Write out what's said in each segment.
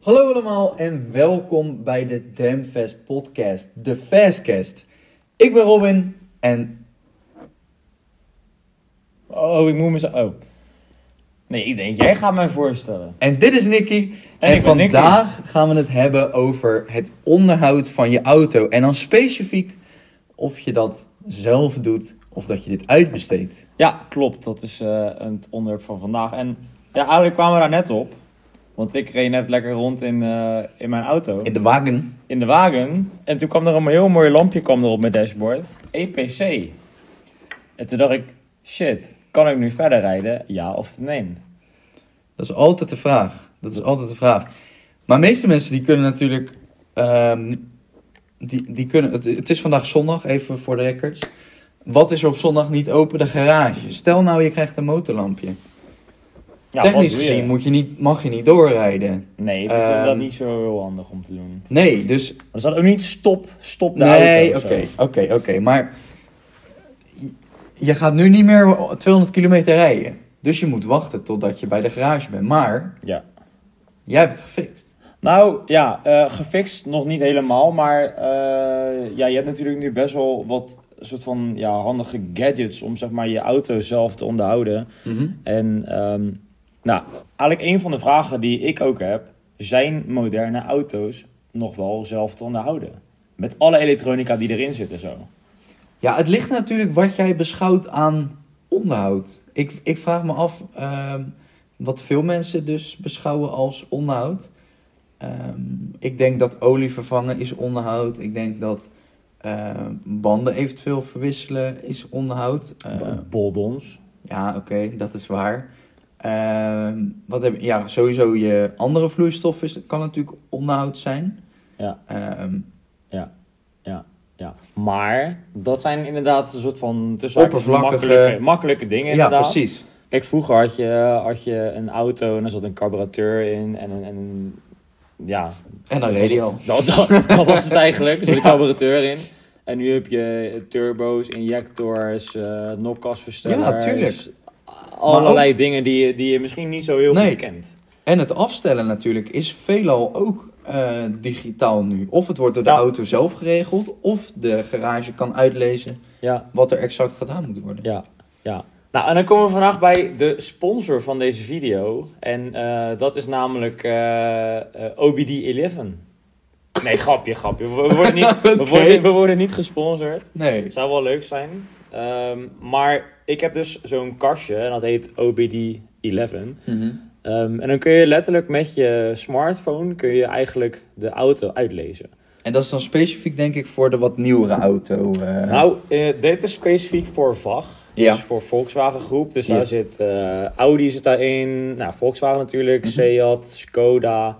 Hallo allemaal en welkom bij de Damfest podcast, de Fastcast. Ik ben Robin en Oh, ik moet mezelf. Oh. Nee, ik denk, jij gaat mij voorstellen. En dit is Nicky. En En, ik ben Nicky. vandaag gaan we het hebben over het onderhoud van je auto. En dan specifiek of je dat zelf doet of dat je dit uitbesteedt. Ja, klopt. Dat is eh, het onderwerp van vandaag. En ja, eigenlijk kwamen we daar net op. Want ik reed net lekker rond in, eh, in mijn auto, In de wagen. in de wagen. En toen kwam er een heel mooi lampje kwam er op mijn dashboard. EPC. En toen dacht ik, shit, kan ik nu verder rijden? Ja of nee? Dat is altijd de vraag. Dat is altijd de vraag. Maar de meeste mensen die kunnen natuurlijk... ehm, die, die kunnen, het, het is vandaag zondag, even voor de records. Wat is er op zondag niet open? De garage. Stel nou, je krijgt een motorlampje. Ja, Technisch wat doe je? gezien moet je niet, mag je niet doorrijden. Nee, het is inderdaad Ehm. niet zo heel handig om te doen. Nee, dus Maar er staat ook niet stop, stop de nee, auto. of zo. oké, oké, oké. Maar je- je gaat nu niet meer 200 kilometer rijden. Dus je moet wachten totdat je bij de garage bent. Maar Ja. jij hebt het gefixt. Nou ja, eh, gefixt nog niet helemaal, maar eh, ja, je hebt natuurlijk nu best wel wat soort van ja, handige gadgets om zeg maar je auto zelf te onderhouden. En ehm, nou, eigenlijk een van de vragen die ik ook heb, zijn moderne auto's nog wel zelf te onderhouden? Met alle elektronica die erin zit en zo. Ja, het ligt natuurlijk wat jij beschouwt aan onderhoud. Ik, ik vraag me af ehm, wat veel mensen dus beschouwen als onderhoud. Ehm, ik denk dat olie vervangen is onderhoud. Ik denk dat ehm, banden eventueel verwisselen is onderhoud. Ehm, Boldons. Ja, oké, dat is waar. Ehm, wat heb, ja, sowieso je andere vloeistoffen is- kan natuurlijk onderhoud zijn. Ja. Ehm, Ja, ja, ja. Maar dat zijn inderdaad een soort van tussen haakjes Oppervlakkige- makkelijke, makkelijke dingen ja, inderdaad. precies. Kijk, vroeger had je, had je een auto en er zat een carburateur in en een... En, een- ja, En dan reed je al. dat, dat, dat was het eigenlijk. Er zat een carburateur in. En nu heb je turbo's, injectors, eh nokkasverstellers. Ja, tuurlijk. Allerlei dingen die, je- die je misschien niet zo heel Nee. goed kent. En het afstellen natuurlijk is veelal ook eh, digitaal nu. Of het wordt door de Ja. auto zelf geregeld, of de garage kan uitlezen Ja, wat er exact gedaan moet worden. ja, ja. Nou, en dan komen we vandaag bij de sponsor van deze video. En eh, dat is namelijk eh, eh, OBD11. Nee, grapje, grapje. We worden niet, we Oké. worden, we worden niet gesponsord. Nee. Zou wel leuk zijn. Ehm, maar ik heb dus zo'n kastje en dat heet OBD11. Mhm. Ehm, en dan kun je letterlijk met je smartphone kun je eigenlijk de auto uitlezen. En dat is dan specifiek denk ik voor de wat nieuwere auto. eh. Nou, eh, dit is specifiek voor VAG. Ja. Dus voor Volkswagen Groep. Dus Ja. daar zit eh, Audi zit daarin. Nou, Volkswagen natuurlijk, Mhm. Seat, Skoda,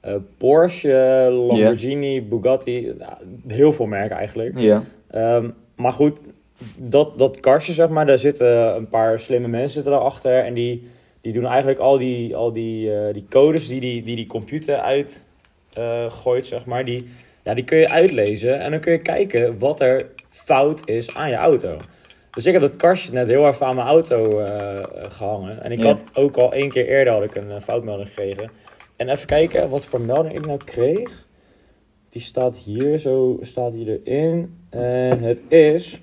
eh, Porsche, Lamborghini, Bugatti. Nou, heel veel merken eigenlijk. Ja. Ehm, maar goed, dat, dat kastje, zeg maar, daar zitten een paar slimme mensen zitten daarachter. En die, die doen eigenlijk al die, al die, eh, die codes die die, die die computer uitgooit, gooit zeg maar. Die, ja, die kun je uitlezen en dan kun je kijken wat er fout is aan je auto. Dus ik heb dat kastje net heel erg aan mijn auto eh, gehangen. En ik Ja. had ook al één keer eerder had ik een eh, foutmelding gekregen. En even kijken wat voor melding ik nou kreeg. Die staat hier, zo staat hij erin. En het is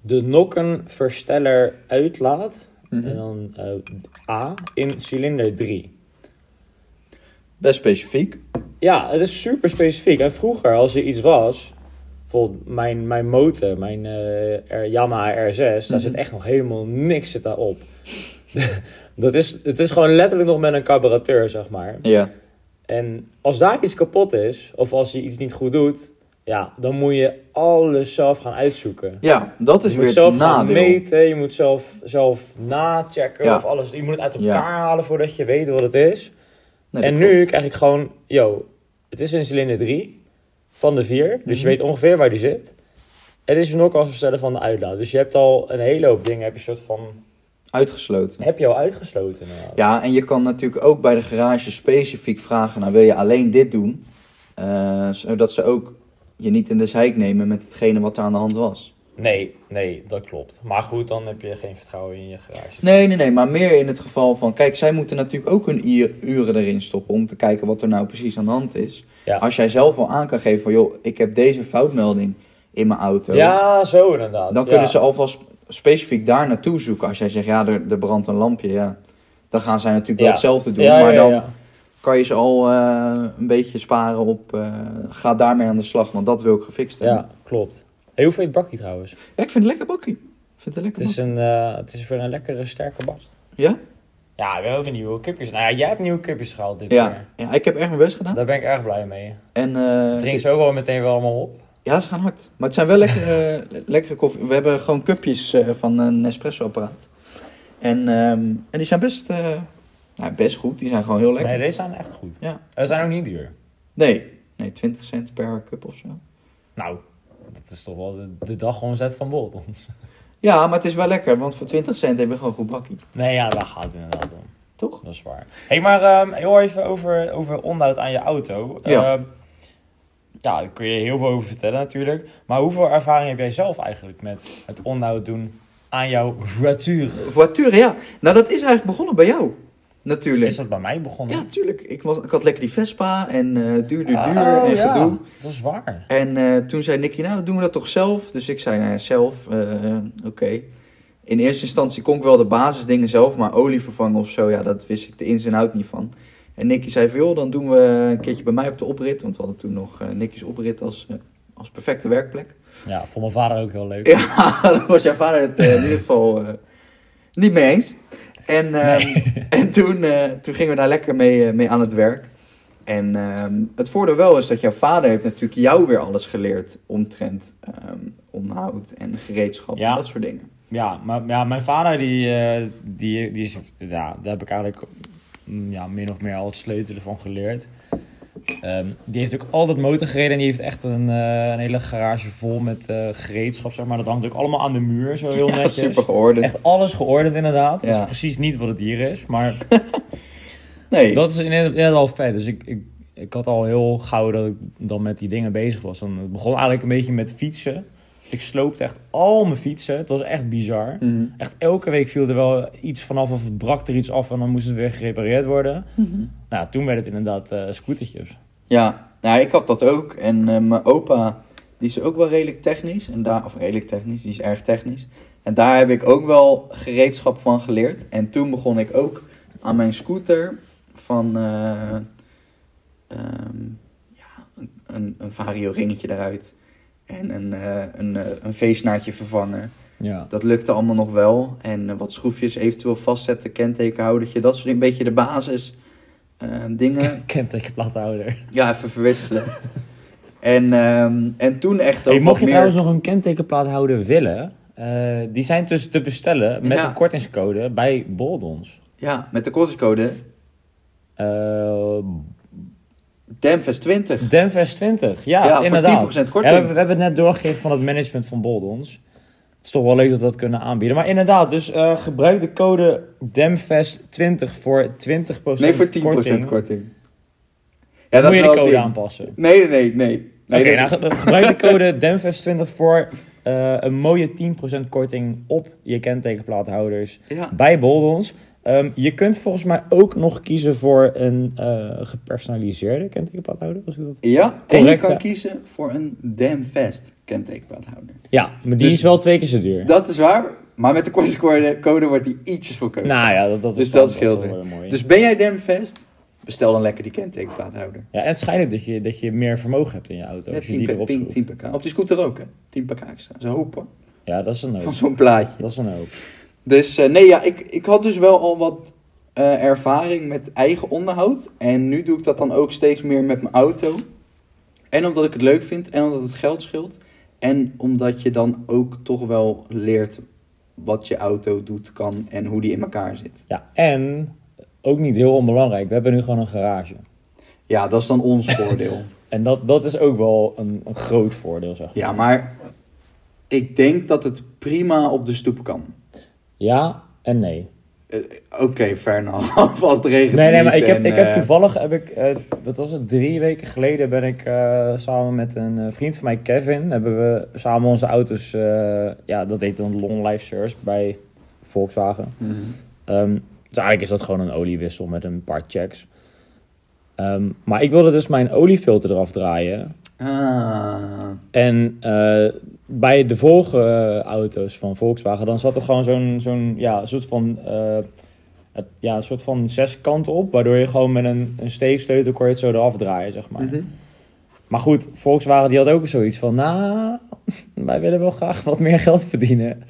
de nokkenversteller uitlaat. Mhm. En dan eh, A in cilinder 3. Best specifiek. Ja, het is super specifiek. En vroeger, als er iets was, bijvoorbeeld mijn, mijn motor, mijn eh, R- Yamaha R6, daar zit echt nog helemaal niks zit daarop. dat is, het is gewoon letterlijk nog met een carburateur, zeg maar. Ja. En als daar iets kapot is, of als je iets niet goed doet, ja, dan moet je alles zelf gaan uitzoeken. Ja, dat is je moet weer het zelf gaan nadeel. meten, je moet zelf, zelf nachecken Ja. of alles. Je moet het uit elkaar Ja. halen voordat je weet wat het is. Nee, en dat nu klopt. krijg ik gewoon, yo, het is een cilinder 3 van de 4, dus je Mhm. weet ongeveer waar die zit. Het is een nokasversteller van de uitlaat. Dus je hebt al een hele hoop dingen, heb je, soort van, Uitgesloten. heb je al uitgesloten. inderdaad. Ja, en je kan natuurlijk ook bij de garage specifiek vragen: nou, wil je alleen dit doen? Eh, zodat ze ook je niet in de zeik nemen met hetgene wat er aan de hand was. Nee, nee, dat klopt. Maar goed, dan heb je geen vertrouwen in je garage. Nee, nee, nee, maar meer in het geval van... Kijk, zij moeten natuurlijk ook hun i- uren erin stoppen... om te kijken wat er nou precies aan de hand is. Ja. Als jij zelf al aan kan geven van... joh, ik heb deze foutmelding in mijn auto... Ja, zo inderdaad. dan ja. kunnen ze alvast specifiek daar naartoe zoeken. Als jij zegt, ja, er, er brandt een lampje, ja... dan gaan zij natuurlijk wel Ja. hetzelfde doen. Ja, ja, maar ja, dan ja. kan je ze al eh, een beetje sparen op... eh, ga daarmee aan de slag, want dat wil ik gefixt hebben. Ja, klopt. Hey, hoe vind je het bakkie trouwens? Ja, ik vind het lekker bakkie. Ik vind het lekker Het is, een, eh, het is weer een lekkere, sterke bak. bakkie. Ja? Ja, we hebben nieuwe cupjes. Nou ja, jij hebt nieuwe cupjes gehaald dit Ja. jaar. ja, ik heb erg mijn best gedaan. Daar ben ik erg blij mee. En, eh, het Drink ze ook wel meteen wel allemaal op. Ja, ze gaan hard. Maar het zijn wel lekkere, le- lekkere koffie. We hebben gewoon cupjes eh, van een Nespresso-apparaat. En, ehm, en die zijn best, eh, nou, best goed. Die zijn gewoon heel lekker. Nee, deze zijn echt goed. Ja. En Ze zijn ook niet duur. Nee, nee 20 cent per cup of zo. Nou, dat is toch wel de, de dagomzet van Bolt. Ja, maar het is wel lekker, want voor 20 cent heb je gewoon een goed bakkie. Nee, ja, daar gaat het inderdaad om. Toch? Dat is waar. hey, maar ehm, heel even over, over onderhoud aan je auto. Ja. Ehm, ja, daar kun je heel veel over vertellen natuurlijk. Maar hoeveel ervaring heb jij zelf eigenlijk met het onderhoud doen aan jouw voiture? Voiture, ja. Nou, dat is eigenlijk begonnen bij jou. Natuurlijk. Is dat bij mij begonnen? Ja, tuurlijk. Ik, was, ik had lekker die Vespa en eh, duur, duur, duur Oh, en ja. gedoe. Dat is waar. En eh, toen zei Nicky, nou dan doen we dat toch zelf? Dus ik zei, nou ja, zelf, eh, eh, oké. In eerste instantie kon ik wel de basisdingen zelf, maar olie vervangen of zo, ja, dat wist ik de ins en out niet van. En Nicky zei van, joh, dan doen we een keertje bij mij op de oprit. Want we hadden toen nog eh, Nicky's oprit als, eh, als perfecte werkplek. Ja, voor mijn vader ook heel leuk. Ja, daar was jouw vader het eh, in ieder geval eh, niet mee eens. En, ehm, en toen, eh, toen gingen we daar lekker mee, eh, mee aan het werk. En ehm, het voordeel wel is dat jouw vader heeft natuurlijk jou weer alles geleerd omtrent ehm onderhoud en gereedschap Ja. en dat soort dingen. Ja, maar ja, mijn vader, die, eh, die, die is, ja, daar heb ik eigenlijk mm, ja, min of meer al het sleutelen van geleerd. Ehm, die heeft ook altijd motor gereden en die heeft echt een, eh, een hele garage vol met eh, gereedschap, zeg maar. Dat hangt ook allemaal aan de muur, zo heel Ja, netjes. super geordend. Echt alles geordend inderdaad. Dat Ja. is precies niet wat het hier is, maar Nee, dat is inderdaad al vet. Dus ik, ik, ik had al heel gauw dat ik dan met die dingen bezig was. Dan het begon eigenlijk een beetje met fietsen. Ik sloopte echt al mijn fietsen. Het was echt bizar. Mhm. Echt elke week viel er wel iets vanaf of het brak er iets af en dan moest het weer gerepareerd worden. Nou, toen werd het inderdaad eh, scootertjes. Ja, nou, ik had dat ook. En eh, mijn opa, die is ook wel redelijk technisch. En daar, of redelijk technisch, die is erg technisch. En daar heb ik ook wel gereedschap van geleerd. En toen begon ik ook aan mijn scooter van eh, ehm, ja, een, een, een vario ringetje eruit. En een, eh, een, eh, een feestnaadje vervangen. Ja. Dat lukte allemaal nog wel. En eh, wat schroefjes eventueel vastzetten, kentekenhoudertje. Dat soort dingen, een beetje de basis eh, dingen. Kentekenplathouder. Ja, even verwisselen. en, ehm, en toen echt ook Hey, wat mocht je meer... trouwens nog een kentekenplathouder willen, eh, die zijn dus te bestellen met Ja. een kortingscode bij Boldons. Ja, met de kortingscode Eh DEMFES20. Denvest20, ja, Ja, voor inderdaad. 10% Ja, we, korting. hebben- we hebben het net doorgegeven van het management van Boldons. Het is toch wel leuk dat we dat kunnen aanbieden. Maar inderdaad, dus eh, gebruik de code DEMFEST20 voor 20% Nee, voor 10% korting. korting. Ja, Moet je de wel code tien. aanpassen. Nee, nee, nee. nee. nee Oké, dat is- nou, ge- gebruik de code DEMFEST20 voor eh, een mooie 10% korting op je kentekenplaathouders ja. bij Boldons. Ehm, je kunt volgens mij ook nog kiezen voor een eh, gepersonaliseerde kentekenplaathouder. als ik dat- ja, en je Correct, kan ja. kiezen voor een DEMFEST kentekenplathouder. Ja, maar die Dus- is wel twee keer zo duur. Dat is waar, maar met de kortingscode code wordt die ietsjes goedkoper. Nou ja, dat, dat Dus is dat dan- scheelt is weer. wel mooi. Dus ben jij DEMFEST? Bestel dan lekker die kentekenplaathouder. ja, en het schijnt ook dat je, dat je meer vermogen hebt in je auto Ja, als je die 10 erop pk, schroeft. 10 pk. Op die scooter ook, hè? 10 pk extra. Zo hoop hoor. Ja, dat is een hoop. Van zo'n plaatje. Dat is een hoop. Dus eh, nee, ja, ik, ik had dus wel al wat eh, ervaring met eigen onderhoud. En nu doe ik dat dan ook steeds meer met mijn auto. En omdat ik het leuk vind en omdat het geld scheelt. En omdat je dan ook toch wel leert wat je auto doet, kan en hoe die in elkaar zit. Ja, en ook niet heel onbelangrijk, we hebben nu gewoon een garage. Ja, dat is dan ons voordeel. En dat, dat is ook wel een, een groot voordeel, zeg maar. Ja, maar ik denk dat het prima op de stoep kan. Ja en nee. eh, Oké, fair enough. Als het regent Nee, nee, maar niet ik heb, en, ik heb eh, toevallig, heb ik, eh, wat was het, drie weken geleden ben ik eh, samen met een eh, vriend van mij, Kevin, hebben we samen onze auto's, eh, ja, dat heet dan Long Life Service bij Volkswagen. mhm. Ehm, dus eigenlijk is dat gewoon een oliewissel met een paar checks. Ehm, maar ik wilde dus mijn oliefilter eraf draaien. Ah, En eh, bij de vorige auto's van Volkswagen, dan zat er gewoon zo'n zo'n ja, soort van, eh, het- ja, een soort van zeskant op. Waardoor je gewoon met een, een steeksleutel kon je het zo eraf draaien, zeg maar. mhm. Maar goed, Volkswagen die had ook zoiets van, nou, wij willen wel graag wat meer geld verdienen.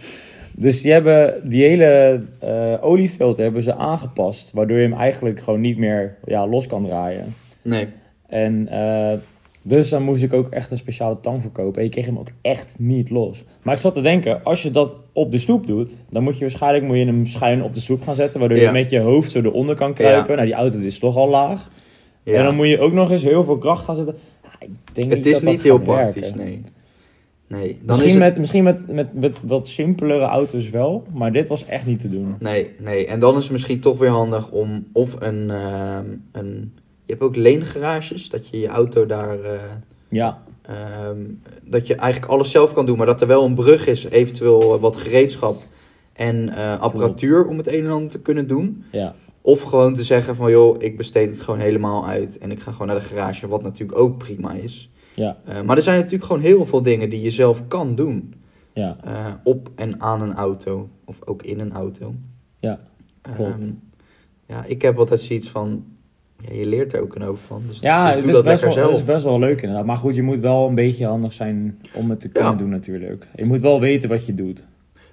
Dus die hebben die hele eh, oliefilter hebben ze aangepast. Waardoor je hem eigenlijk gewoon niet meer ja, los kan draaien. Nee. En eh, dus dan moest ik ook echt een speciale tang verkopen. En je kreeg hem ook echt niet los. Maar ik zat te denken, als je dat op de stoep doet, dan moet je waarschijnlijk moet je hem schuin op de stoep gaan zetten. Waardoor Ja. je met je hoofd zo eronder kan kruipen. Nou, die auto is toch al laag. Ja. En dan moet je ook nog eens heel veel kracht gaan zetten. Ja, ik denk het is dat dat niet heel gaat werken. praktisch, nee. Nee, dan Misschien, is het- met, misschien met, met, met wat simpelere auto's wel, maar dit was echt niet te doen. Nee, nee. En dan is het misschien toch weer handig om of een, ehm, een... Je hebt ook leengarages, dat je je auto daar... eh, Ja, ehm, dat je eigenlijk alles zelf kan doen, maar dat er wel een brug is, eventueel eh, wat gereedschap en eh, apparatuur om het een en ander te kunnen doen. ja. Of gewoon te zeggen van, joh, ik besteed het gewoon helemaal uit en ik ga gewoon naar de garage, wat natuurlijk ook prima is. Ja. Eh, maar er zijn natuurlijk gewoon heel veel dingen die je zelf kan doen. ja. Eh, op en aan een auto. Of ook in een auto. Ja, klopt. Ehm, ja, ik heb altijd zoiets van... Ja, je leert er ook een hoop van. Dus, Ja, dus het doe is, dat best lekker wel, het is zelf. best wel leuk inderdaad. Maar goed, je moet wel een beetje handig zijn om het te kunnen Ja. doen natuurlijk. Je moet wel weten wat je doet.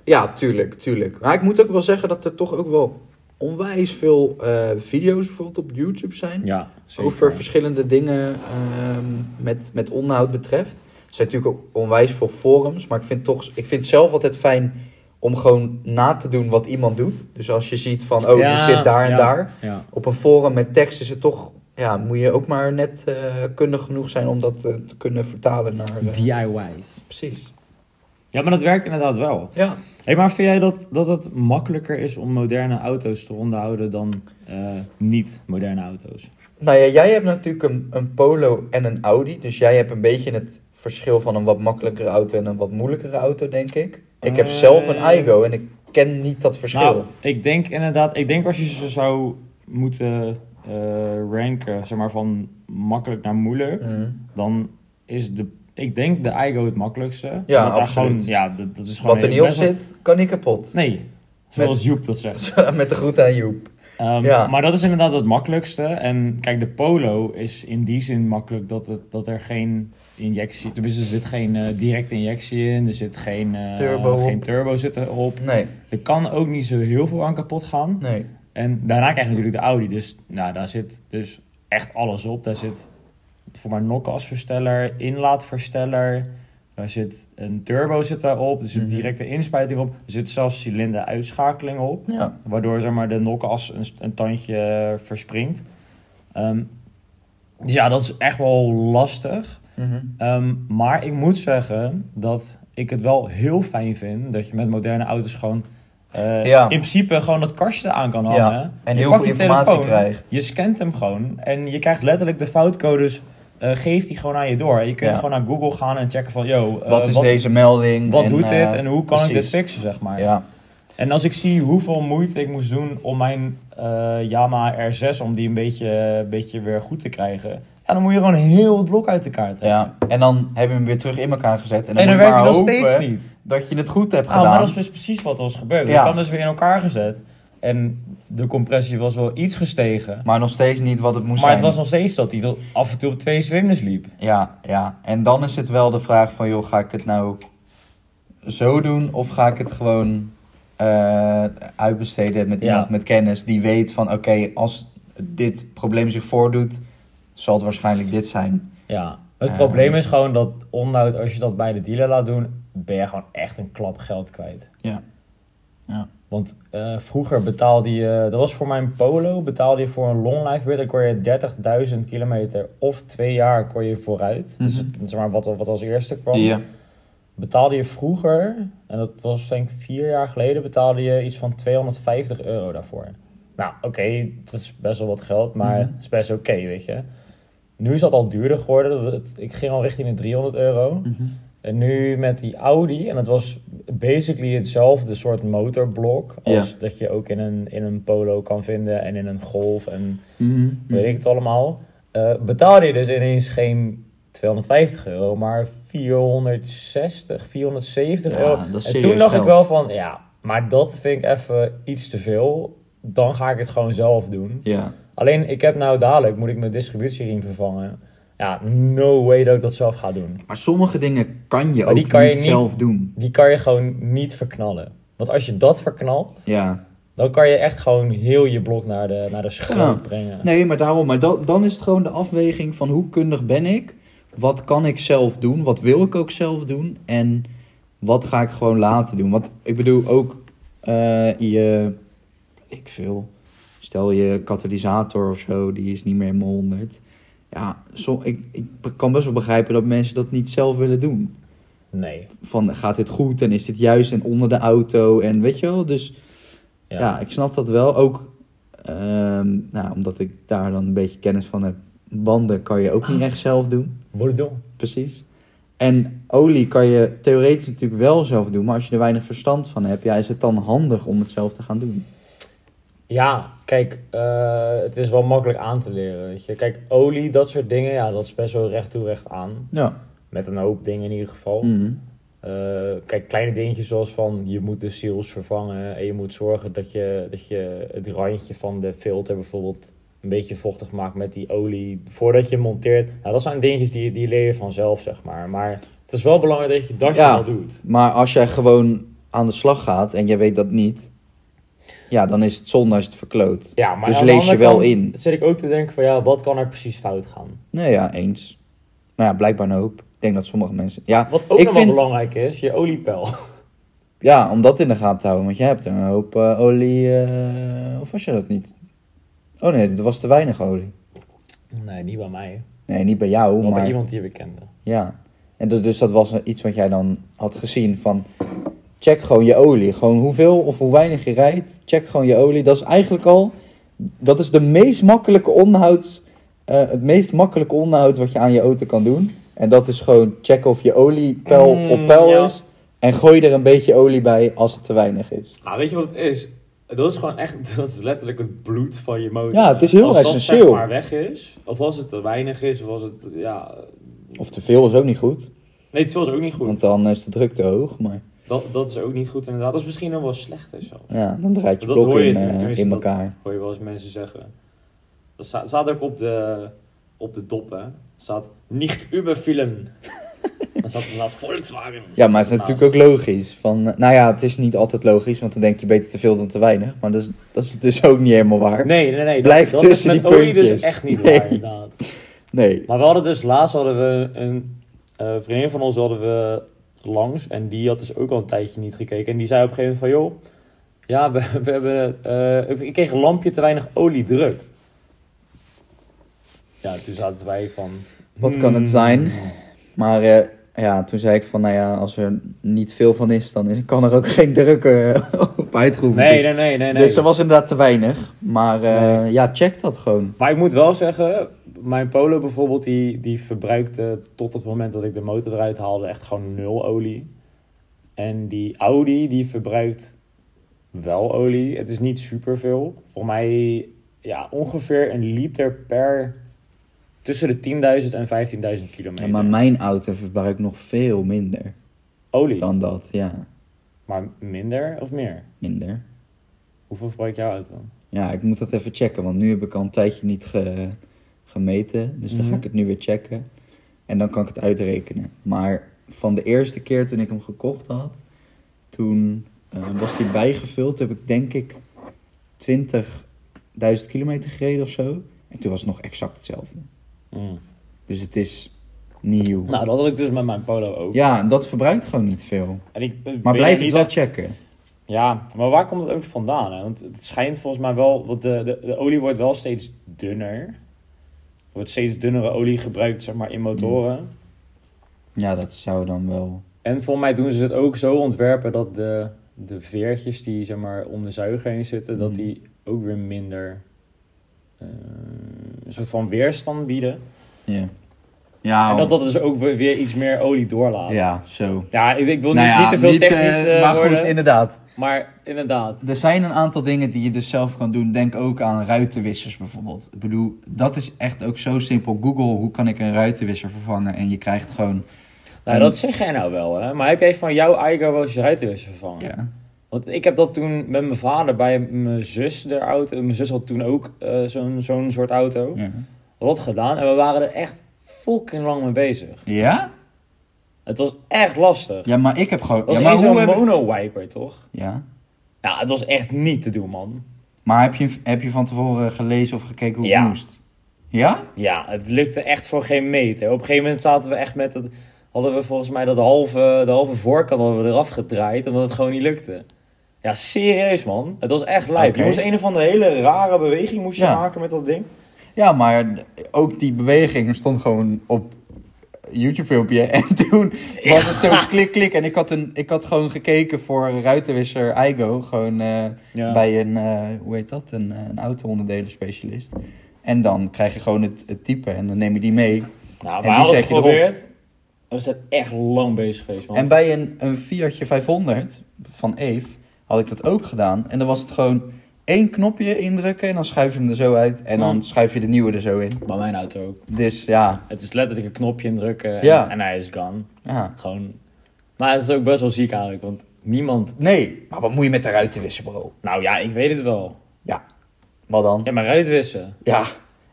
Ja, tuurlijk, tuurlijk. Maar ik moet ook wel zeggen dat er toch ook wel onwijs veel eh, video's bijvoorbeeld op YouTube zijn. Ja, zeker. over verschillende dingen ehm, met, met onderhoud betreft. Er zijn natuurlijk ook onwijs veel forums, maar ik vind, toch, ik vind het zelf altijd fijn om gewoon na te doen wat iemand doet. Dus als je ziet van, oh, Ja, die zit daar en ja, daar. Ja, op een forum met tekst is het toch... Ja, moet je ook maar net eh, kundig genoeg zijn om dat eh, te kunnen vertalen naar... eh, DIY's. Precies. Ja, maar dat werkt inderdaad wel. Ja. Hey, maar vind jij dat, dat het makkelijker is om moderne auto's te onderhouden dan eh, niet moderne auto's? Nou ja, jij hebt natuurlijk een, een Polo en een Audi. Dus jij hebt een beetje het verschil van een wat makkelijkere auto en een wat moeilijkere auto, denk ik. Ik heb Eh. zelf een Aigo en ik ken niet dat verschil. Nou, ik denk inderdaad, ik denk als je ze zou moeten eh, ranken, zeg maar van makkelijk naar moeilijk. Mm. dan is de, ik denk de Igo het makkelijkste. Omdat Ja, daar absoluut. Gewoon, ja, dat, dat is gewoon Wat er een- niet op best wel- zit, kan niet kapot. Nee, zoals Joep dat zegt. Met de groet aan Joep. Ehm, Ja. Maar dat is inderdaad het makkelijkste. En kijk, de Polo is in die zin makkelijk dat, het, dat er geen injectie... Tenminste, er zit geen eh, directe injectie in. Er zit geen eh, Turbo op. geen turbo zit erop. Nee, Er kan ook niet zo heel veel aan kapot gaan. nee. En daarna krijg je natuurlijk de Audi. Dus nou, daar zit dus echt alles op. Daar zit voor mij nokasversteller, inlaatversteller. Daar zit een turbo zit daarop. Er zit Mhm. directe inspuiting op. Er zit zelfs cilinder-uitschakeling op. Ja. Waardoor zeg maar, de nokas een, een tandje verspringt. Ehm, dus ja, dat is echt wel lastig. Mhm. Ehm, maar ik moet zeggen dat ik het wel heel fijn vind dat je met moderne auto's gewoon eh, Ja. in principe gewoon dat kastje aan kan hangen. Ja, en Je heel pakt veel je informatie telefoon, krijgt. Je scant hem gewoon en je krijgt letterlijk de foutcodes, eh geeft die gewoon aan je door. Je kunt Ja. gewoon naar Google gaan en checken van, yo, eh, Wat is deze melding? wat En, doet eh, dit en hoe kan ik dit precies. fixen, zeg maar. Ja, En als ik zie hoeveel moeite ik moest doen om mijn eh, Yamaha R6, om die een beetje, een beetje weer goed te krijgen, ja, dan moet je gewoon heel het blok uit de kaart hebben. ja. En dan hebben we hem weer terug in elkaar gezet. En dan, En dan moet je werkt maar het nog hopen steeds niet. dat je het goed hebt Ah, gedaan. maar dat is dus precies wat er was gebeurd. Ja. Ik had dus weer in elkaar gezet. En de compressie was wel iets gestegen. Maar nog steeds niet wat het moest Maar het zijn. was nog steeds dat hij af en toe op twee cilinders liep. Ja, ja. En dan is het wel de vraag van, joh, ga ik het nou zo doen of ga ik het gewoon eh, uitbesteden met Ja. iemand met kennis die weet van, oké, als dit probleem zich voordoet, zal het waarschijnlijk dit zijn. Ja. Het Ah. probleem is gewoon dat onderhoud, als je dat bij de dealer laat doen, ben je gewoon echt een klap geld kwijt. Ja. Ja. Want eh, vroeger betaalde je, dat was voor mijn polo, betaalde je voor een long life bid, dan kon je 30.000 kilometer of twee jaar kon je vooruit. Dus Mhm. zeg maar wat, wat als eerste kwam. Ja. betaalde je vroeger, en dat was denk ik vier jaar geleden, betaalde je iets van 250 euro daarvoor. Nou, oké, dat is best wel wat geld, maar Mhm. het is best oké, weet je. Nu is dat al duurder geworden. Het- Ik ging al richting de 300 euro. Mhm. En nu met die Audi, en het was basically hetzelfde soort motorblok als dat je ook in een, in een Polo kan vinden en in een Golf en Mhm. weet ik het allemaal. eh, betaalde je dus ineens geen 250 euro, maar 460, 470 Ja, euro. dat is en serieus toen dacht geld. ik wel van, ja, maar dat vind ik even iets te veel. Dan ga ik het gewoon zelf doen. Ja, Alleen, ik heb nou dadelijk, moet ik mijn distributieriem vervangen. Ja, no way dat ik dat zelf ga doen. maar sommige dingen kan je Maar die ook kan je niet niet- zelf doen. Die kan je gewoon niet verknallen. Want als je dat verknalt, Ja. dan kan je echt gewoon heel je blok naar de, naar de schroot Ja. brengen. Nee, maar daarom. Maar da- dan is het gewoon de afweging van hoe kundig ben ik? Wat kan ik zelf doen? Wat wil ik ook zelf doen? En wat ga ik gewoon laten doen? Want ik bedoel ook eh, je, ik veel, stel je katalysator of zo, die is niet meer helemaal 100. Ja, zo, ik, ik kan best wel begrijpen dat mensen dat niet zelf willen doen. Nee. Van gaat dit goed en is dit juist en onder de auto en weet je wel. Dus Ja. ja, ik snap dat wel. Ook ehm, nou, omdat ik daar dan een beetje kennis van heb. Banden kan je ook niet echt zelf doen. Moet ik doen. Precies. En olie kan je theoretisch natuurlijk wel zelf doen. Maar als je er weinig verstand van hebt, ja, is het dan handig om het zelf te gaan doen. Ja, kijk, eh, het is wel makkelijk aan te leren, weet je. Kijk, olie, dat soort dingen, ja, dat is best wel recht toe, recht aan. Ja. Met een hoop dingen in ieder geval. Mhm. Eh, kijk, kleine dingetjes zoals van, je moet de seals vervangen en je moet zorgen dat je, dat je het randje van de filter bijvoorbeeld een beetje vochtig maakt met die olie voordat je hem monteert. Nou, dat zijn dingetjes die, die leer je vanzelf, zeg maar. Maar het is wel belangrijk dat je dat Ja. je wel doet. Maar als jij gewoon aan de slag gaat en jij weet dat niet, ja, dan is het zonde als je het verkloot. Ja, maar Dus aan de lees je andere wel kant in. zit ik ook te denken van, ja, wat kan er precies fout gaan? Nou ja, eens. Nou ja, blijkbaar een hoop. Ik denk dat sommige mensen. Ja, Wat ook Ik nog wel vind- belangrijk is, je oliepeil. Ja, om dat in de gaten te houden, want jij hebt een hoop eh, olie. eh, of was je dat niet? Oh nee, er was te weinig olie. Nee, niet bij mij. Nee, niet bij jou, Wel maar. bij iemand die we kenden. Ja. En dat, dus dat was iets wat jij dan had gezien van. Check gewoon je olie. Gewoon hoeveel of hoe weinig je rijdt. Check gewoon je olie. Dat is eigenlijk al. Dat is de meest makkelijke onderhouds. eh, het meest makkelijke onderhoud wat je aan je auto kan doen. En dat is gewoon checken of je oliepeil Mm, op peil ja. is. En gooi er een beetje olie bij als het te weinig is. Ah, weet je wat het is? Dat is gewoon echt, dat is letterlijk het bloed van je motor. Ja, het is heel als Als dat essentieel. zeg maar weg is, of als het te weinig is, of als het, ja... Of te veel is ook niet goed. Nee, het was ook niet goed. Want dan is de drukte hoog, maar Dat, dat is ook niet goed inderdaad. Dat is misschien nog wel slechter zo. ja, dan draait je Dat blok hoor je in, natuurlijk, eh, tenminste, in dat- elkaar. Hoor je wel eens mensen zeggen. Dat sta- staat ook op de, op de dop, hè. Staat, niet überfilmen. Dan staat er naast Volkswagen. Ja, maar het is Naast. natuurlijk ook logisch. Van, eh, nou ja, het is niet altijd logisch, want dan denk je beter te veel dan te weinig. Maar dat is, dat is dus ook niet helemaal waar. Nee, Nee, nee, nee. Blijf dat, tussen dat is met die olie dus puntjes. echt niet Nee. waar, inderdaad. Maar we hadden dus laatst hadden we een eh, vriendin van ons hadden we langs en die had dus ook al een tijdje niet gekeken. En die zei op een gegeven moment van joh, ja, we, we hebben, eh, ik kreeg een lampje te weinig olie druk. Ja, toen zaten wij van. hmm. Wat kan het zijn? maar eh, ja, toen zei ik van, nou ja, als er niet veel van is, dan is- kan er ook geen drukker eh, op uitgeoefend Nee, worden. nee, nee, nee. nee. Dus er was inderdaad te weinig. Maar eh, ja, check dat gewoon. Maar ik moet wel zeggen, mijn Polo bijvoorbeeld, die, die verbruikte tot het moment dat ik de motor eruit haalde echt gewoon nul olie. En die Audi, die verbruikt wel olie. Het is niet superveel. Voor mij ja, ongeveer een liter per tussen de 10.000 en 15.000 kilometer Ja, maar mijn auto verbruikt nog veel minder olie. dan dat. Ja, Maar minder of meer? minder. Hoeveel verbruikt jouw auto? Ja, ik moet dat even checken, want nu heb ik al een tijdje niet ge- gemeten. Dus dan ga ik Mhm. het nu weer checken. En dan kan ik het uitrekenen. Maar van de eerste keer toen ik hem gekocht had, toen eh, was die bijgevuld. Toen heb ik denk ik 20.000 kilometer gereden of zo. En toen was het nog exact hetzelfde. Mm. Dus het is nieuw. Nou, dat had ik dus met mijn Polo ook. Ja, en dat verbruikt gewoon niet veel. En ik, ben Maar er blijf het niet wel checken. Ja, maar waar komt dat ook vandaan? Hè? Want het schijnt volgens mij wel, want de, de, de olie wordt wel steeds dunner. Er wordt steeds dunnere olie gebruikt, zeg maar, in motoren. Ja, dat zou dan wel Mm. En volgens mij doen ze het ook zo ontwerpen dat de, de veertjes die zeg maar, om de zuiger heen zitten, dat Mhm. die ook weer minder eh, een soort van weerstand bieden. Ja. Ja, En dat dat dus ook weer weer iets meer olie doorlaat. ja zo. Ja, ik, ik wil Nou niet, ja, niet te veel eh, technisch eh, Maar worden, goed, inderdaad. maar inderdaad. Er zijn een aantal dingen die je dus zelf kan doen. Denk ook aan ruitenwissers bijvoorbeeld. Ik bedoel, dat is echt ook zo simpel. Google, hoe kan ik een ruitenwisser vervangen? En je krijgt gewoon... Nou, dat zeg jij nou wel, hè. Maar heb jij van jouw eigen wel eens je ruitenwissel vervangen? Ja. Want ik heb dat toen met mijn vader bij mijn zus de auto. Mijn zus had toen ook eh, zo'n zo'n soort auto. Ja? We hadden dat gedaan en we waren er echt fucking lang mee bezig. Ja, Het was echt lastig. ja maar ik heb gewoon... Het was ja, maar één zo'n heb... mono-wiper, toch? Ja. Ja, het was echt niet te doen, man. Maar heb je, heb je van tevoren gelezen of gekeken hoe Ja. het moest? Ja? Ja, het lukte echt voor geen meter. Op een gegeven moment zaten we echt met het... Hadden we volgens mij dat halve, de halve voorkant hadden we eraf gedraaid, omdat het gewoon niet lukte. Ja, serieus, man. Het was echt lijp. Oké. Je moest een of andere hele rare beweging moest je Ja. maken met dat ding. Ja, maar ook die beweging stond gewoon op YouTube filmpje. En toen was het zo klik klik. En ik had, een, ik had gewoon gekeken voor een ruitenwisser Igo. Gewoon eh, Ja. bij een, eh, hoe heet dat? Een, eh, een auto-onderdelen specialist. En dan krijg je gewoon het, het type en dan neem je die mee. Nou, En we die hadden het zet je erop. geprobeerd. En we zijn echt lang bezig geweest, man. En bij een, een Fiatje 500 van Eve had ik dat ook gedaan. En dan was het gewoon één knopje indrukken en dan schuif je hem er zo uit. En dan Hmm. schuif je de nieuwe er zo in. Bij mijn auto ook. Dus ja, Het is letterlijk een knopje indrukken en, Ja. en hij is gone. ja. Gewoon. Maar het is ook best wel ziek eigenlijk, want niemand... Nee, maar wat moet je met de ruitenwisser, bro? Nou ja, ik weet het wel. Ja, wat dan? Ja, maar ruitwissen. Ja,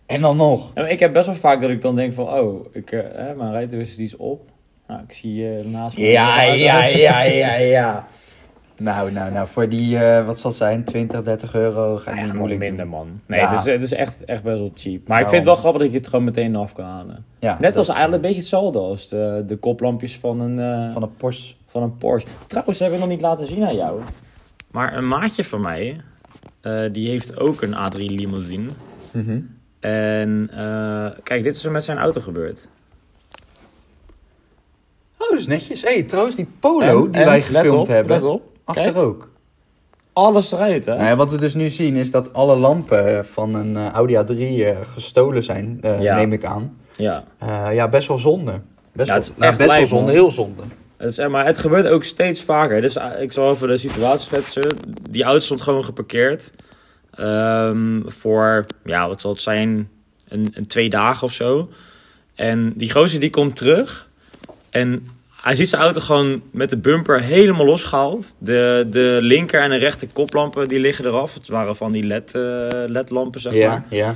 en dan nog. Ja, maar ik heb best wel vaak dat ik dan denk van, oh, ik, eh, hè, mijn ruitwissen die is op. Nou, ik zie je naast me. Ja, ja, ja, ja, ja. Nou, nou, nou, voor die, eh, wat zal het zijn, 20, 30 euro ga Nou ik ja, niet gewoon moeilijk minder, doen. man. Nee, Ja. het is, het is echt, echt best wel cheap. Maar ik Daarom. vind het wel grappig dat je het gewoon meteen af kan halen. Ja, Net als dat- eigenlijk een beetje hetzelfde als de, de koplampjes van een... eh, Van een Porsche. van een Porsche. Trouwens, dat heb ik nog niet laten zien aan jou. Maar een maatje van mij, eh, die heeft ook een A3 limousine. Mhm. En eh, kijk, dit is er met zijn auto gebeurd. Oh, dat is netjes. hey, trouwens, die polo En- die en, wij let gefilmd op, hebben, Let op, achter Kijk, ook. alles eruit hè. Nou ja, wat we dus nu zien is dat alle lampen van een eh, Audi A3 eh, gestolen zijn, eh, Ja. neem ik aan. Ja. Eh, ja, best wel zonde. Best Ja, wel, het is nou, echt best wel lijp, zonde, man. heel zonde. Het, is- maar het gebeurt ook steeds vaker. Dus eh, ik zal even de situatie schetsen. Die auto stond gewoon geparkeerd. ehm, voor, ja, wat zal het zijn? Een, een twee dagen of zo. En die gozer die komt terug. En hij ziet zijn auto gewoon met de bumper helemaal losgehaald. De, de linker en de rechter koplampen die liggen eraf. Het waren van die LED, eh, LED-lampen, zeg maar. Ja, ja.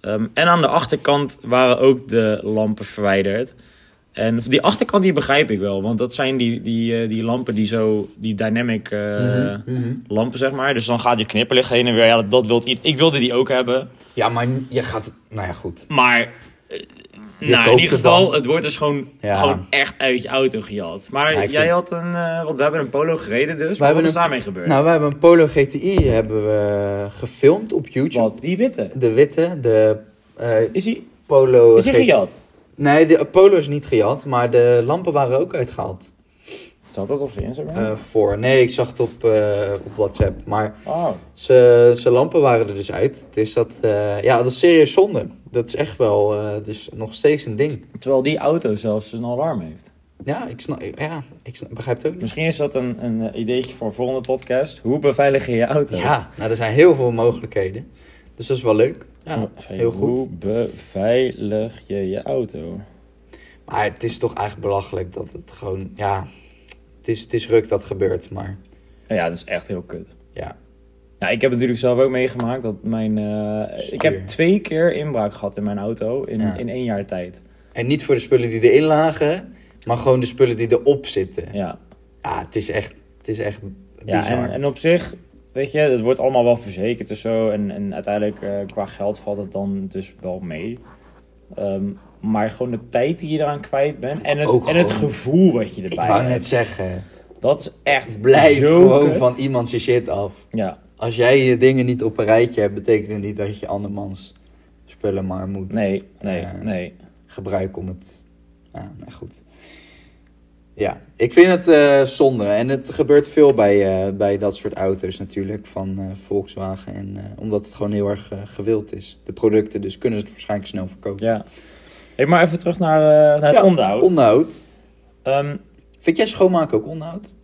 Ehm, en aan de achterkant waren ook de lampen verwijderd. En die achterkant die begrijp ik wel, want dat zijn die, die, eh, die lampen die zo, die dynamic eh, Mhm, mhm. lampen zeg maar. Dus dan gaat je knipperlicht heen en weer. Ja, dat, dat wilt i- ik wilde die ook hebben. Ja, maar je gaat... Nou ja, goed. Maar eh, nou, in koopt ieder het geval, dan. het wordt dus gewoon, Ja. gewoon echt uit je auto gejat. Maar Ja, ik jij vind- had een, eh, want we hebben een polo gereden dus. Maar hebben wat is een- daarmee gebeurd? Nou, we hebben een Polo GTI hebben we gefilmd op YouTube. wat? Die witte. De witte, de eh, Is die, Polo... is die G- gejat? Nee, de Polo is niet gejat, maar de lampen waren ook uitgehaald. Zat dat op Instagram? eh, voor. Nee, ik zag het op, eh, op WhatsApp. Maar oh. ze, ze lampen waren er dus uit. Dus dat, eh, ja, dat is serieus zonde. Dat is echt wel eh, dus nog steeds een ding. Terwijl die auto zelfs een alarm heeft. Ja, ik, snap, ja, ik snap, begrijp het ook niet. Misschien is dat een, een eh, ideetje voor een volgende podcast. Hoe beveilig je je auto? Ja, nou, er zijn heel veel mogelijkheden. Dus dat is wel leuk. Ja, Hey, heel Hoe goed. beveilig je je auto? Nou Maar het is toch eigenlijk belachelijk dat het gewoon, ja... Het is, het is ruk dat gebeurt, maar Nou ja, dat is echt heel kut. ja. Nou, ik heb natuurlijk zelf ook meegemaakt dat mijn... eh, Stuur. ik heb twee keer inbraak gehad in mijn auto in, Ja. in één jaar tijd. En niet voor de spullen die erin lagen, maar gewoon de spullen die erop zitten. Ja, Ja, het is echt, het is echt ja bizar. en, en op zich, weet je, het wordt allemaal wel verzekerd en zo. En, en uiteindelijk eh, qua geld valt het dan dus wel mee. Ehm, maar gewoon de tijd die je eraan kwijt bent en het, Ook en het gewoon- gevoel wat je erbij Ik wou hebt. net zeggen, Dat is echt blijf zo gewoon kut. van iemand zijn shit af. Ja, Als jij je dingen niet op een rijtje hebt, betekent het niet dat je andermans spullen maar moet nee, nee, Eh, nee. gebruiken om het... Ja, nou goed. Ja, ik vind het eh, zonde. En het gebeurt veel bij, eh, bij dat soort auto's natuurlijk van eh, Volkswagen. En, eh, omdat het gewoon heel erg eh, gewild is. De producten, dus kunnen ze het waarschijnlijk snel verkopen. Ja. Hey, maar even terug naar, eh, naar het Ja, onderhoud. Onderhoud. Ehm, Vind jij schoonmaken ook onderhoud?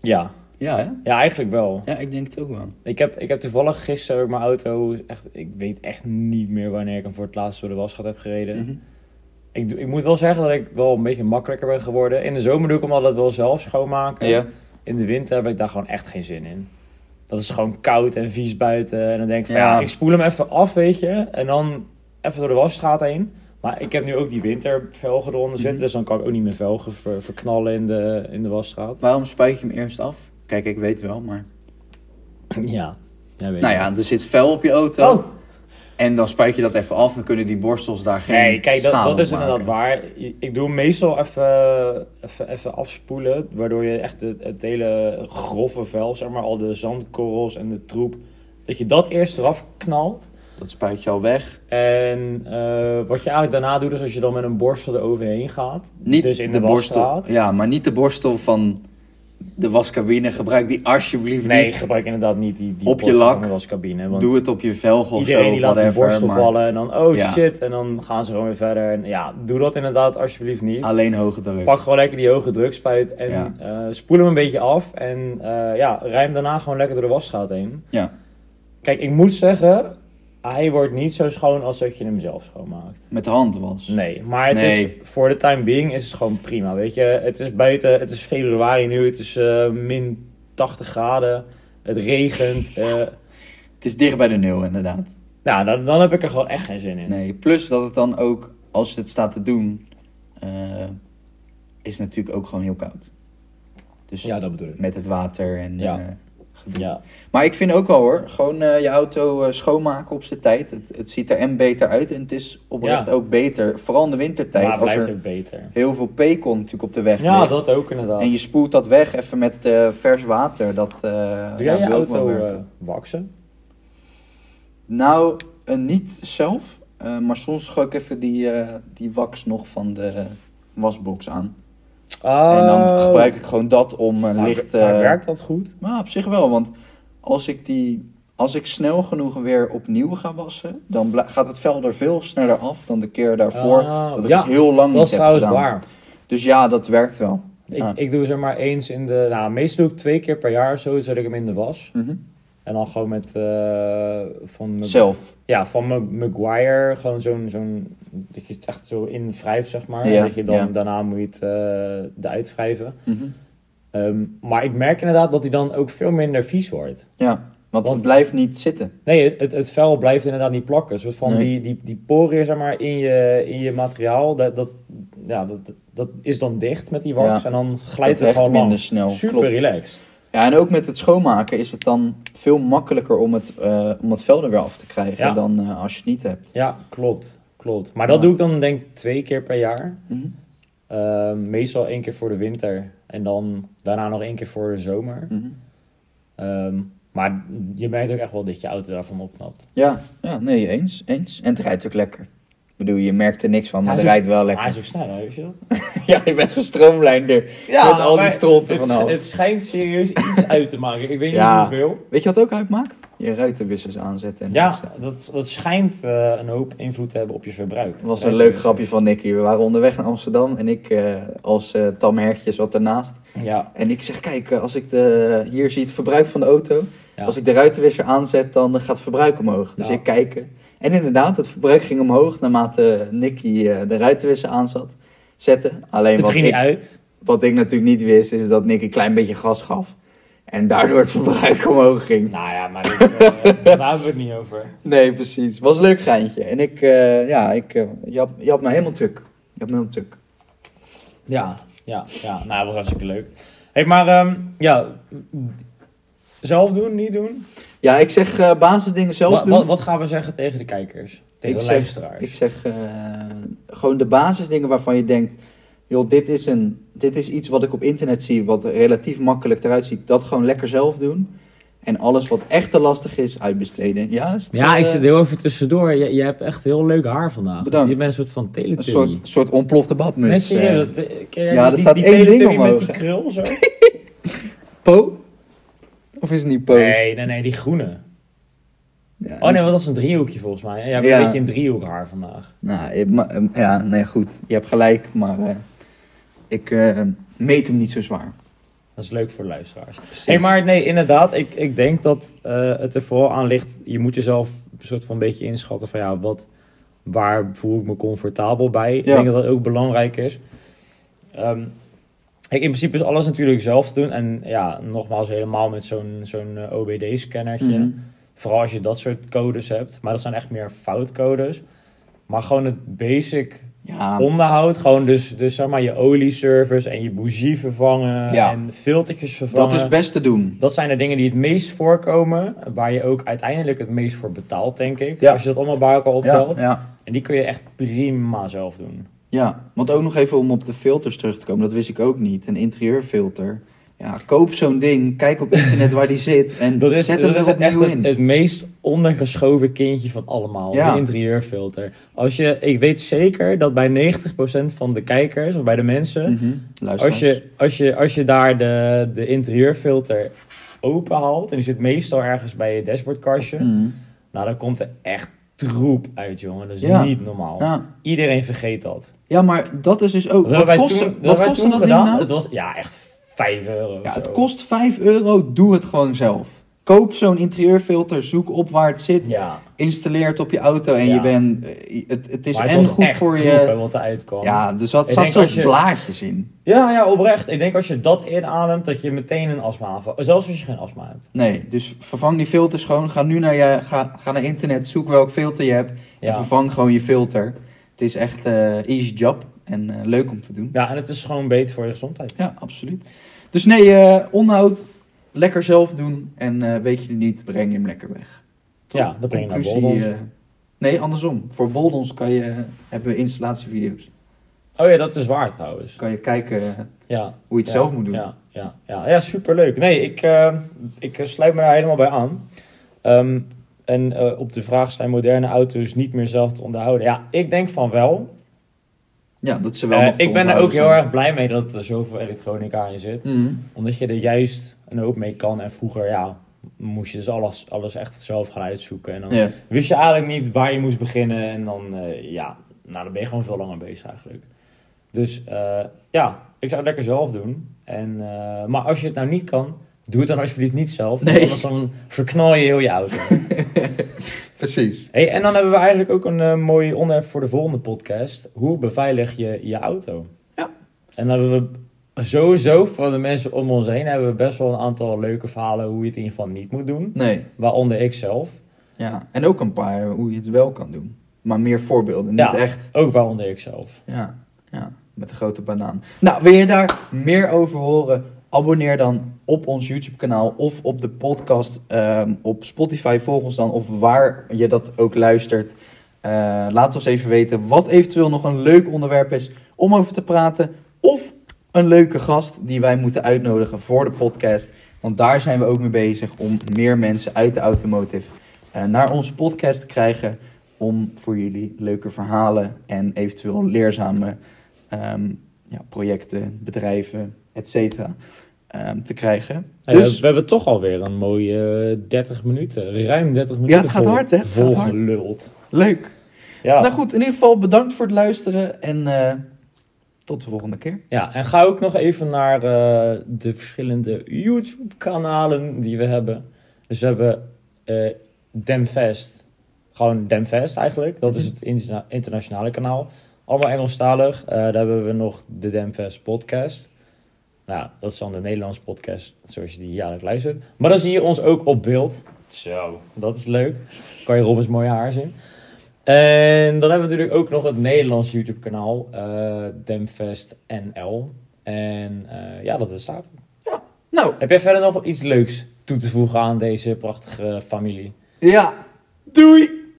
ja. Ja, hè? ja, eigenlijk wel. Ja, ik denk het ook wel. Ik heb, ik heb toevallig gisteren ook mijn auto, echt, ik weet echt niet meer wanneer ik hem voor het laatst door de wasgat heb gereden. Mhm. Ik, doe- ik moet wel zeggen dat ik wel een beetje makkelijker ben geworden. In de zomer doe ik hem altijd wel zelf schoonmaken. Ja. In de winter heb ik daar gewoon echt geen zin in. Dat is gewoon koud en vies buiten. En dan denk ik van ja, Ja. ik spoel hem even af, weet je. En dan even door de wasstraat heen. Maar ik heb nu ook die wintervelgen eronder zitten. Mhm. Dus dan kan ik ook niet meer velgen ver- verknallen in de, in de wasstraat. Waarom spuit je hem eerst af? Kijk, ik weet wel, maar... Ja, ja weet Nou je. ja, er zit vuil op je auto. Oh. En dan spuit je dat even af. Dan kunnen die borstels daar geen Nee, kijk, dat, schade dat is op maken. inderdaad waar. I- Ik doe hem meestal even, even, even afspoelen, waardoor je echt het, het hele grove vuil, zeg maar, al de zandkorrels en de troep, dat je dat eerst eraf knalt. Dat spuit je al weg. En eh, wat je eigenlijk daarna doet, is als je dan met een borstel eroverheen gaat, Niet dus in de, de, borstel. wasstraat. Ja, maar niet de borstel van de wascabine. Gebruik die alsjeblieft Nee, niet. gebruik inderdaad niet die, die Op je borstel lak. van de wascabine, want Doe het op je velg of iedereen zo. die laat een whatever, borstel maar vallen en dan, oh Ja. shit, en dan gaan ze gewoon weer verder. En ja, doe dat inderdaad alsjeblieft niet. Alleen hoge druk. Pak gewoon lekker die hoge drukspuit en Ah, Ja. eh, spoel hem een beetje af. En eh, ja, ruim daarna gewoon lekker door de wasstraat heen. Ja, Kijk, ik moet zeggen, hij wordt niet zo schoon als dat je hem zelf schoonmaakt. met de hand was. Nee, maar het Nee. is, voor de time being is het gewoon prima, weet je. Het is buiten, het is februari nu, het is eh, min 80 graden, het regent. eh, Het is dicht bij de nul inderdaad. nou, dan, dan heb ik er gewoon echt geen zin in. Nee, plus dat het dan ook, als je het staat te doen, eh, is het natuurlijk ook gewoon heel koud. Dus Ja, dat bedoel ik. met het water en Ja. eh, gedoe. Ja, Maar ik vind ook wel hoor, gewoon eh, je auto eh, schoonmaken op zijn tijd. Het, het ziet er en beter uit en het is oprecht Ja. ook beter. Vooral in de wintertijd, maar als blijft er ook beter. heel veel pekon natuurlijk op de weg Ja, ligt. dat ook inderdaad. En je spoelt dat weg even met eh, vers water. Dat, eh ja, Doe jij je wil ook wel auto werken. eh, waksen? Nou, eh, niet zelf. eh, maar soms gooi ik even die, eh, die wax nog van de wasbox aan. En Oh. dan gebruik ik gewoon dat om een Maar- licht... maar eh, werkt dat goed? Maar op zich wel, want als ik, die, als ik snel genoeg weer opnieuw ga wassen... dan bla- gaat het vel er veel sneller af dan de keer daarvoor... Ah, dat ik ja, het heel lang Dat niet is heb trouwens gedaan. waar. Dus ja, dat werkt wel. Ik, Ah. ik doe zeg maar eens in de... Nou, meestal doe ik twee keer per jaar of zo, zet ik hem in de was. Mhm. En dan gewoon met... eh, van mijn- Zelf. Ja, van mijn Maguire. Gewoon zo'n... zo'n dat je het echt zo in wrijft, zeg maar. Ja, en dat je dan, ja. daarna moet je het eh, eruit wrijven. Mhm. Ehm, maar ik merk inderdaad dat hij dan ook veel minder vies wordt. Ja, want Want- het blijft niet zitten. Nee, het, het vel blijft inderdaad niet plakken. Een soort van Nee. die, die, die poriën zeg maar, in, je, in je materiaal, dat, dat, ja, dat, dat is dan dicht met die wax. Ja, en dan glijdt dat het gewoon minder langs. snel. Super klopt. relaxed. Ja, en ook met het schoonmaken is het dan veel makkelijker om het, eh, om het vel er weer af te krijgen Ja. dan eh, als je het niet hebt. Ja, klopt. klopt. Maar dat Ja. doe ik dan denk ik twee keer per jaar. Mhm. Ehm, meestal één keer voor de winter en dan daarna nog één keer voor de zomer. Mhm. Ehm, maar je merkt ook echt wel dat je auto daarvan opknapt. Ja, ja, nee, eens, eens. En het rijdt ook lekker. Ik bedoel, je merkt er niks van, maar Hij het is ook- rijdt wel Maar hij lekker. is ook sneller, weet je dat? Ja, je bent gestroomlijnder. Met al die maar stront het, ervan af. Het schijnt serieus iets uit te maken. Ik weet Ja. niet hoeveel. Weet je wat ook uitmaakt? Je ruitenwissers aanzetten en Ja, uitzetten. dat, dat schijnt eh, een hoop invloed te hebben op je verbruik. Dat was een leuk grapje van Nicky. We waren onderweg naar Amsterdam en ik eh, als eh tamhertje zat ernaast. Ja, En ik zeg, kijk, eh, als ik de, hier zie het verbruik van de auto. Ja. Als ik de ruitenwisser aanzet, dan eh, gaat het verbruik omhoog. Dus Ja. ik kijk. eh, En inderdaad, het verbruik ging omhoog naarmate Nicky eh, de ruitenwisser aanzet. Zette. Alleen het wat ging niet ik, uit. wat ik natuurlijk niet wist, is dat Nicky een klein beetje gas gaf. En daardoor het verbruik omhoog ging. Nou ja, maar dit, eh, daar hebben we het niet over. Nee, precies. Was een leuk geintje. En ik, eh, ja, ik, eh, je, had, je had me helemaal tuk. Je had me helemaal tuk. Ja, ja, ja. Nou, dat was hartstikke leuk. hey, maar ehm, ja, zelf doen, niet doen? Ja, ik zeg eh, basisdingen zelf Wa- doen. Wat, wat gaan we zeggen tegen de kijkers? Tegen Ik de zeg- luisteraars? Ik zeg eh, gewoon de basisdingen waarvan je denkt, joh, dit is, een, dit is iets wat ik op internet zie, wat relatief makkelijk eruit ziet. Dat gewoon lekker zelf doen. En alles wat echt te lastig is, uitbesteden. Ja, is het, Ja, ik eh, zit heel even tussendoor. Je, je hebt echt heel leuk haar vandaag. Bedankt. Je bent een soort van een teletubby. soort, soort ontplofte badmuts. Mensen, eh. hier, de- ken jij ja, er die- die- staat die één ding Teletubby omhoog, Met hè? die krul zo? Po? Of is het niet Po? Nee, nee, nee, die groene. Ja, Oh nee, want dat is een driehoekje volgens mij. Jij hebt Ja. een beetje een driehoek haar vandaag. Nou, ik- maar, ehm, ja, nee, goed. Je hebt gelijk, maar eh, ik eh, meet hem niet zo zwaar. Dat is leuk voor de luisteraars. Precies. Hey, maar nee, inderdaad, ik, ik denk dat eh, het er vooral aan ligt. Je moet jezelf een soort van een beetje inschatten van ja, wat, waar voel ik me comfortabel bij. Ik Ja. denk dat dat ook belangrijk is. Ehm, kijk, in principe is alles natuurlijk zelf te doen. En ja, nogmaals, helemaal met zo'n zo'n eh, OBD-scannertje. Mhm. Vooral als je dat soort codes hebt. Maar dat zijn echt meer foutcodes. Maar gewoon het basic Ja, onderhoud. Gewoon dus, dus zeg maar je olieservice en je bougie vervangen. Ja. En filtertjes vervangen. dat is best te doen. Dat zijn de dingen die het meest voorkomen, waar je ook uiteindelijk het meest voor betaalt, denk ik. Ja. Als je dat allemaal bij elkaar Ja, optelt. ja, En die kun je echt prima zelf doen. ja, want ook nog even om op de filters terug te komen, dat wist ik ook niet. Een interieurfilter. Ja, koop zo'n ding, kijk op internet waar die zit en Dat is, zet dat hem is er het echt opnieuw het, in. het meest ondergeschoven kindje van allemaal. Ja. De interieurfilter. Als je, ik weet zeker dat bij 90% van de kijkers of bij de mensen. Mhm, luister Als eens. je, als je, als je daar de, de interieurfilter open haalt. En die zit meestal ergens bij je dashboardkastje. Mhm. Nou, dan komt er echt troep uit, jongen. Dat is Ja. niet normaal. ja. Iedereen vergeet dat. ja, maar dat is dus ook... Dat hebben Wat wij kostte toen- dat wat hebben wij kostte toen dat ding gedaan. nou? Het was ja, echt 5 euro. Ja, of het zo. kost 5 euro, doe het gewoon zelf. Koop zo'n interieurfilter, zoek op waar het zit, Ja, installeer het op je auto en Ja. je bent... eh, Het, het is maar het en was goed echt voor troep, je... hè, wat eruit kwam. Ja. Ja, er zat, Ik zat denk zelfs als je- blaadjes in. ja, oprecht. Ik denk als je dat inademt, dat je meteen een astma aanvalt. Zelfs als je geen astma hebt. Nee, dus vervang die filters gewoon. Ga nu naar, je, ga, ga naar internet, zoek welk filter je hebt en Ja. vervang gewoon je filter. Het is echt eh easy job en eh, leuk om te doen. ja, en het is gewoon beter voor je gezondheid. Ja, absoluut. Dus nee, eh onderhoud lekker zelf doen en eh, weet je het niet, breng hem lekker weg. Ja, dat breng je naar Conclusie, Boldons. eh, nee, andersom. Voor Boldons kan je, hebben we installatievideo's. Oh ja, dat is waar trouwens. Kan je kijken Ja, hoe je het ja, zelf moet doen. Ja, ja, ja. ja superleuk. Nee, ik, eh, ik eh, sluit me daar helemaal bij aan. Ehm, en eh, op de vraag zijn moderne auto's niet meer zelf te onderhouden. Ja, ik denk van wel. Ja, dat ze wel Eh, nog te ik ben er onthouden ook heel zijn. erg blij mee dat er zoveel elektronica in zit. Mhm. Omdat je er juist een hoop mee kan. En vroeger, ja, moest je dus alles, alles echt zelf gaan uitzoeken. En dan Ja. wist je eigenlijk niet waar je moest beginnen. En dan, eh, ja, nou, dan ben je gewoon veel langer bezig eigenlijk. Dus eh, ja, ik zou het lekker zelf doen. En, eh, maar als je het nou niet kan, doe het dan alsjeblieft niet zelf. want Nee. Anders dan verknal je heel je auto. Precies. hey, en dan hebben we eigenlijk ook een eh, mooi onderwerp voor de volgende podcast. Hoe beveilig je je auto? Ja. En dan hebben we sowieso van de mensen om ons heen hebben we best wel een aantal leuke verhalen hoe je het in ieder geval niet moet doen. Nee. Waaronder ik zelf. Ja, en ook een paar hoe je het wel kan doen. Maar meer voorbeelden, niet Ja. echt. Ook waaronder ik zelf. Ja, ja, met de grote banaan. Nou, wil je daar meer over horen? Abonneer dan op ons YouTube-kanaal of op de podcast ehm, op Spotify. Volg ons dan of waar je dat ook luistert. Eh, laat ons even weten wat eventueel nog een leuk onderwerp is om over te praten. Of een leuke gast die wij moeten uitnodigen voor de podcast. Want daar zijn we ook mee bezig om meer mensen uit de automotive eh, naar onze podcast te krijgen. Om voor jullie leuke verhalen en eventueel leerzame ehm, ja, projecten, bedrijven, et cetera, ehm, te krijgen. Hey, Dus we, we hebben toch alweer een mooie eh, 30 minuten. Ruim 30 minuten. het gaat vol- hard, hè? Het gaat Volgeluld. leuk. Ja. Nou goed, in ieder geval bedankt voor het luisteren en eh, tot de volgende keer. ja, en ga ook nog even naar eh, de verschillende YouTube-kanalen die we hebben. Dus we hebben eh Demfest. Gewoon Demfest eigenlijk. Dat is het interna- internationale kanaal. Allemaal Engelstalig. Eh daar hebben we nog de Demfest podcast. Nou, dat is dan de Nederlandse podcast zoals je die jaarlijks luistert. Maar dan zie je ons ook op beeld. Zo, dat is leuk. Kan je Robins mooie haar zien. En dan hebben we natuurlijk ook nog het Nederlands YouTube kanaal. eh Demfest NL. En eh, ja, dat bestaat. Nou, Heb jij verder nog wel iets leuks toe te voegen aan deze prachtige familie? ja, doei!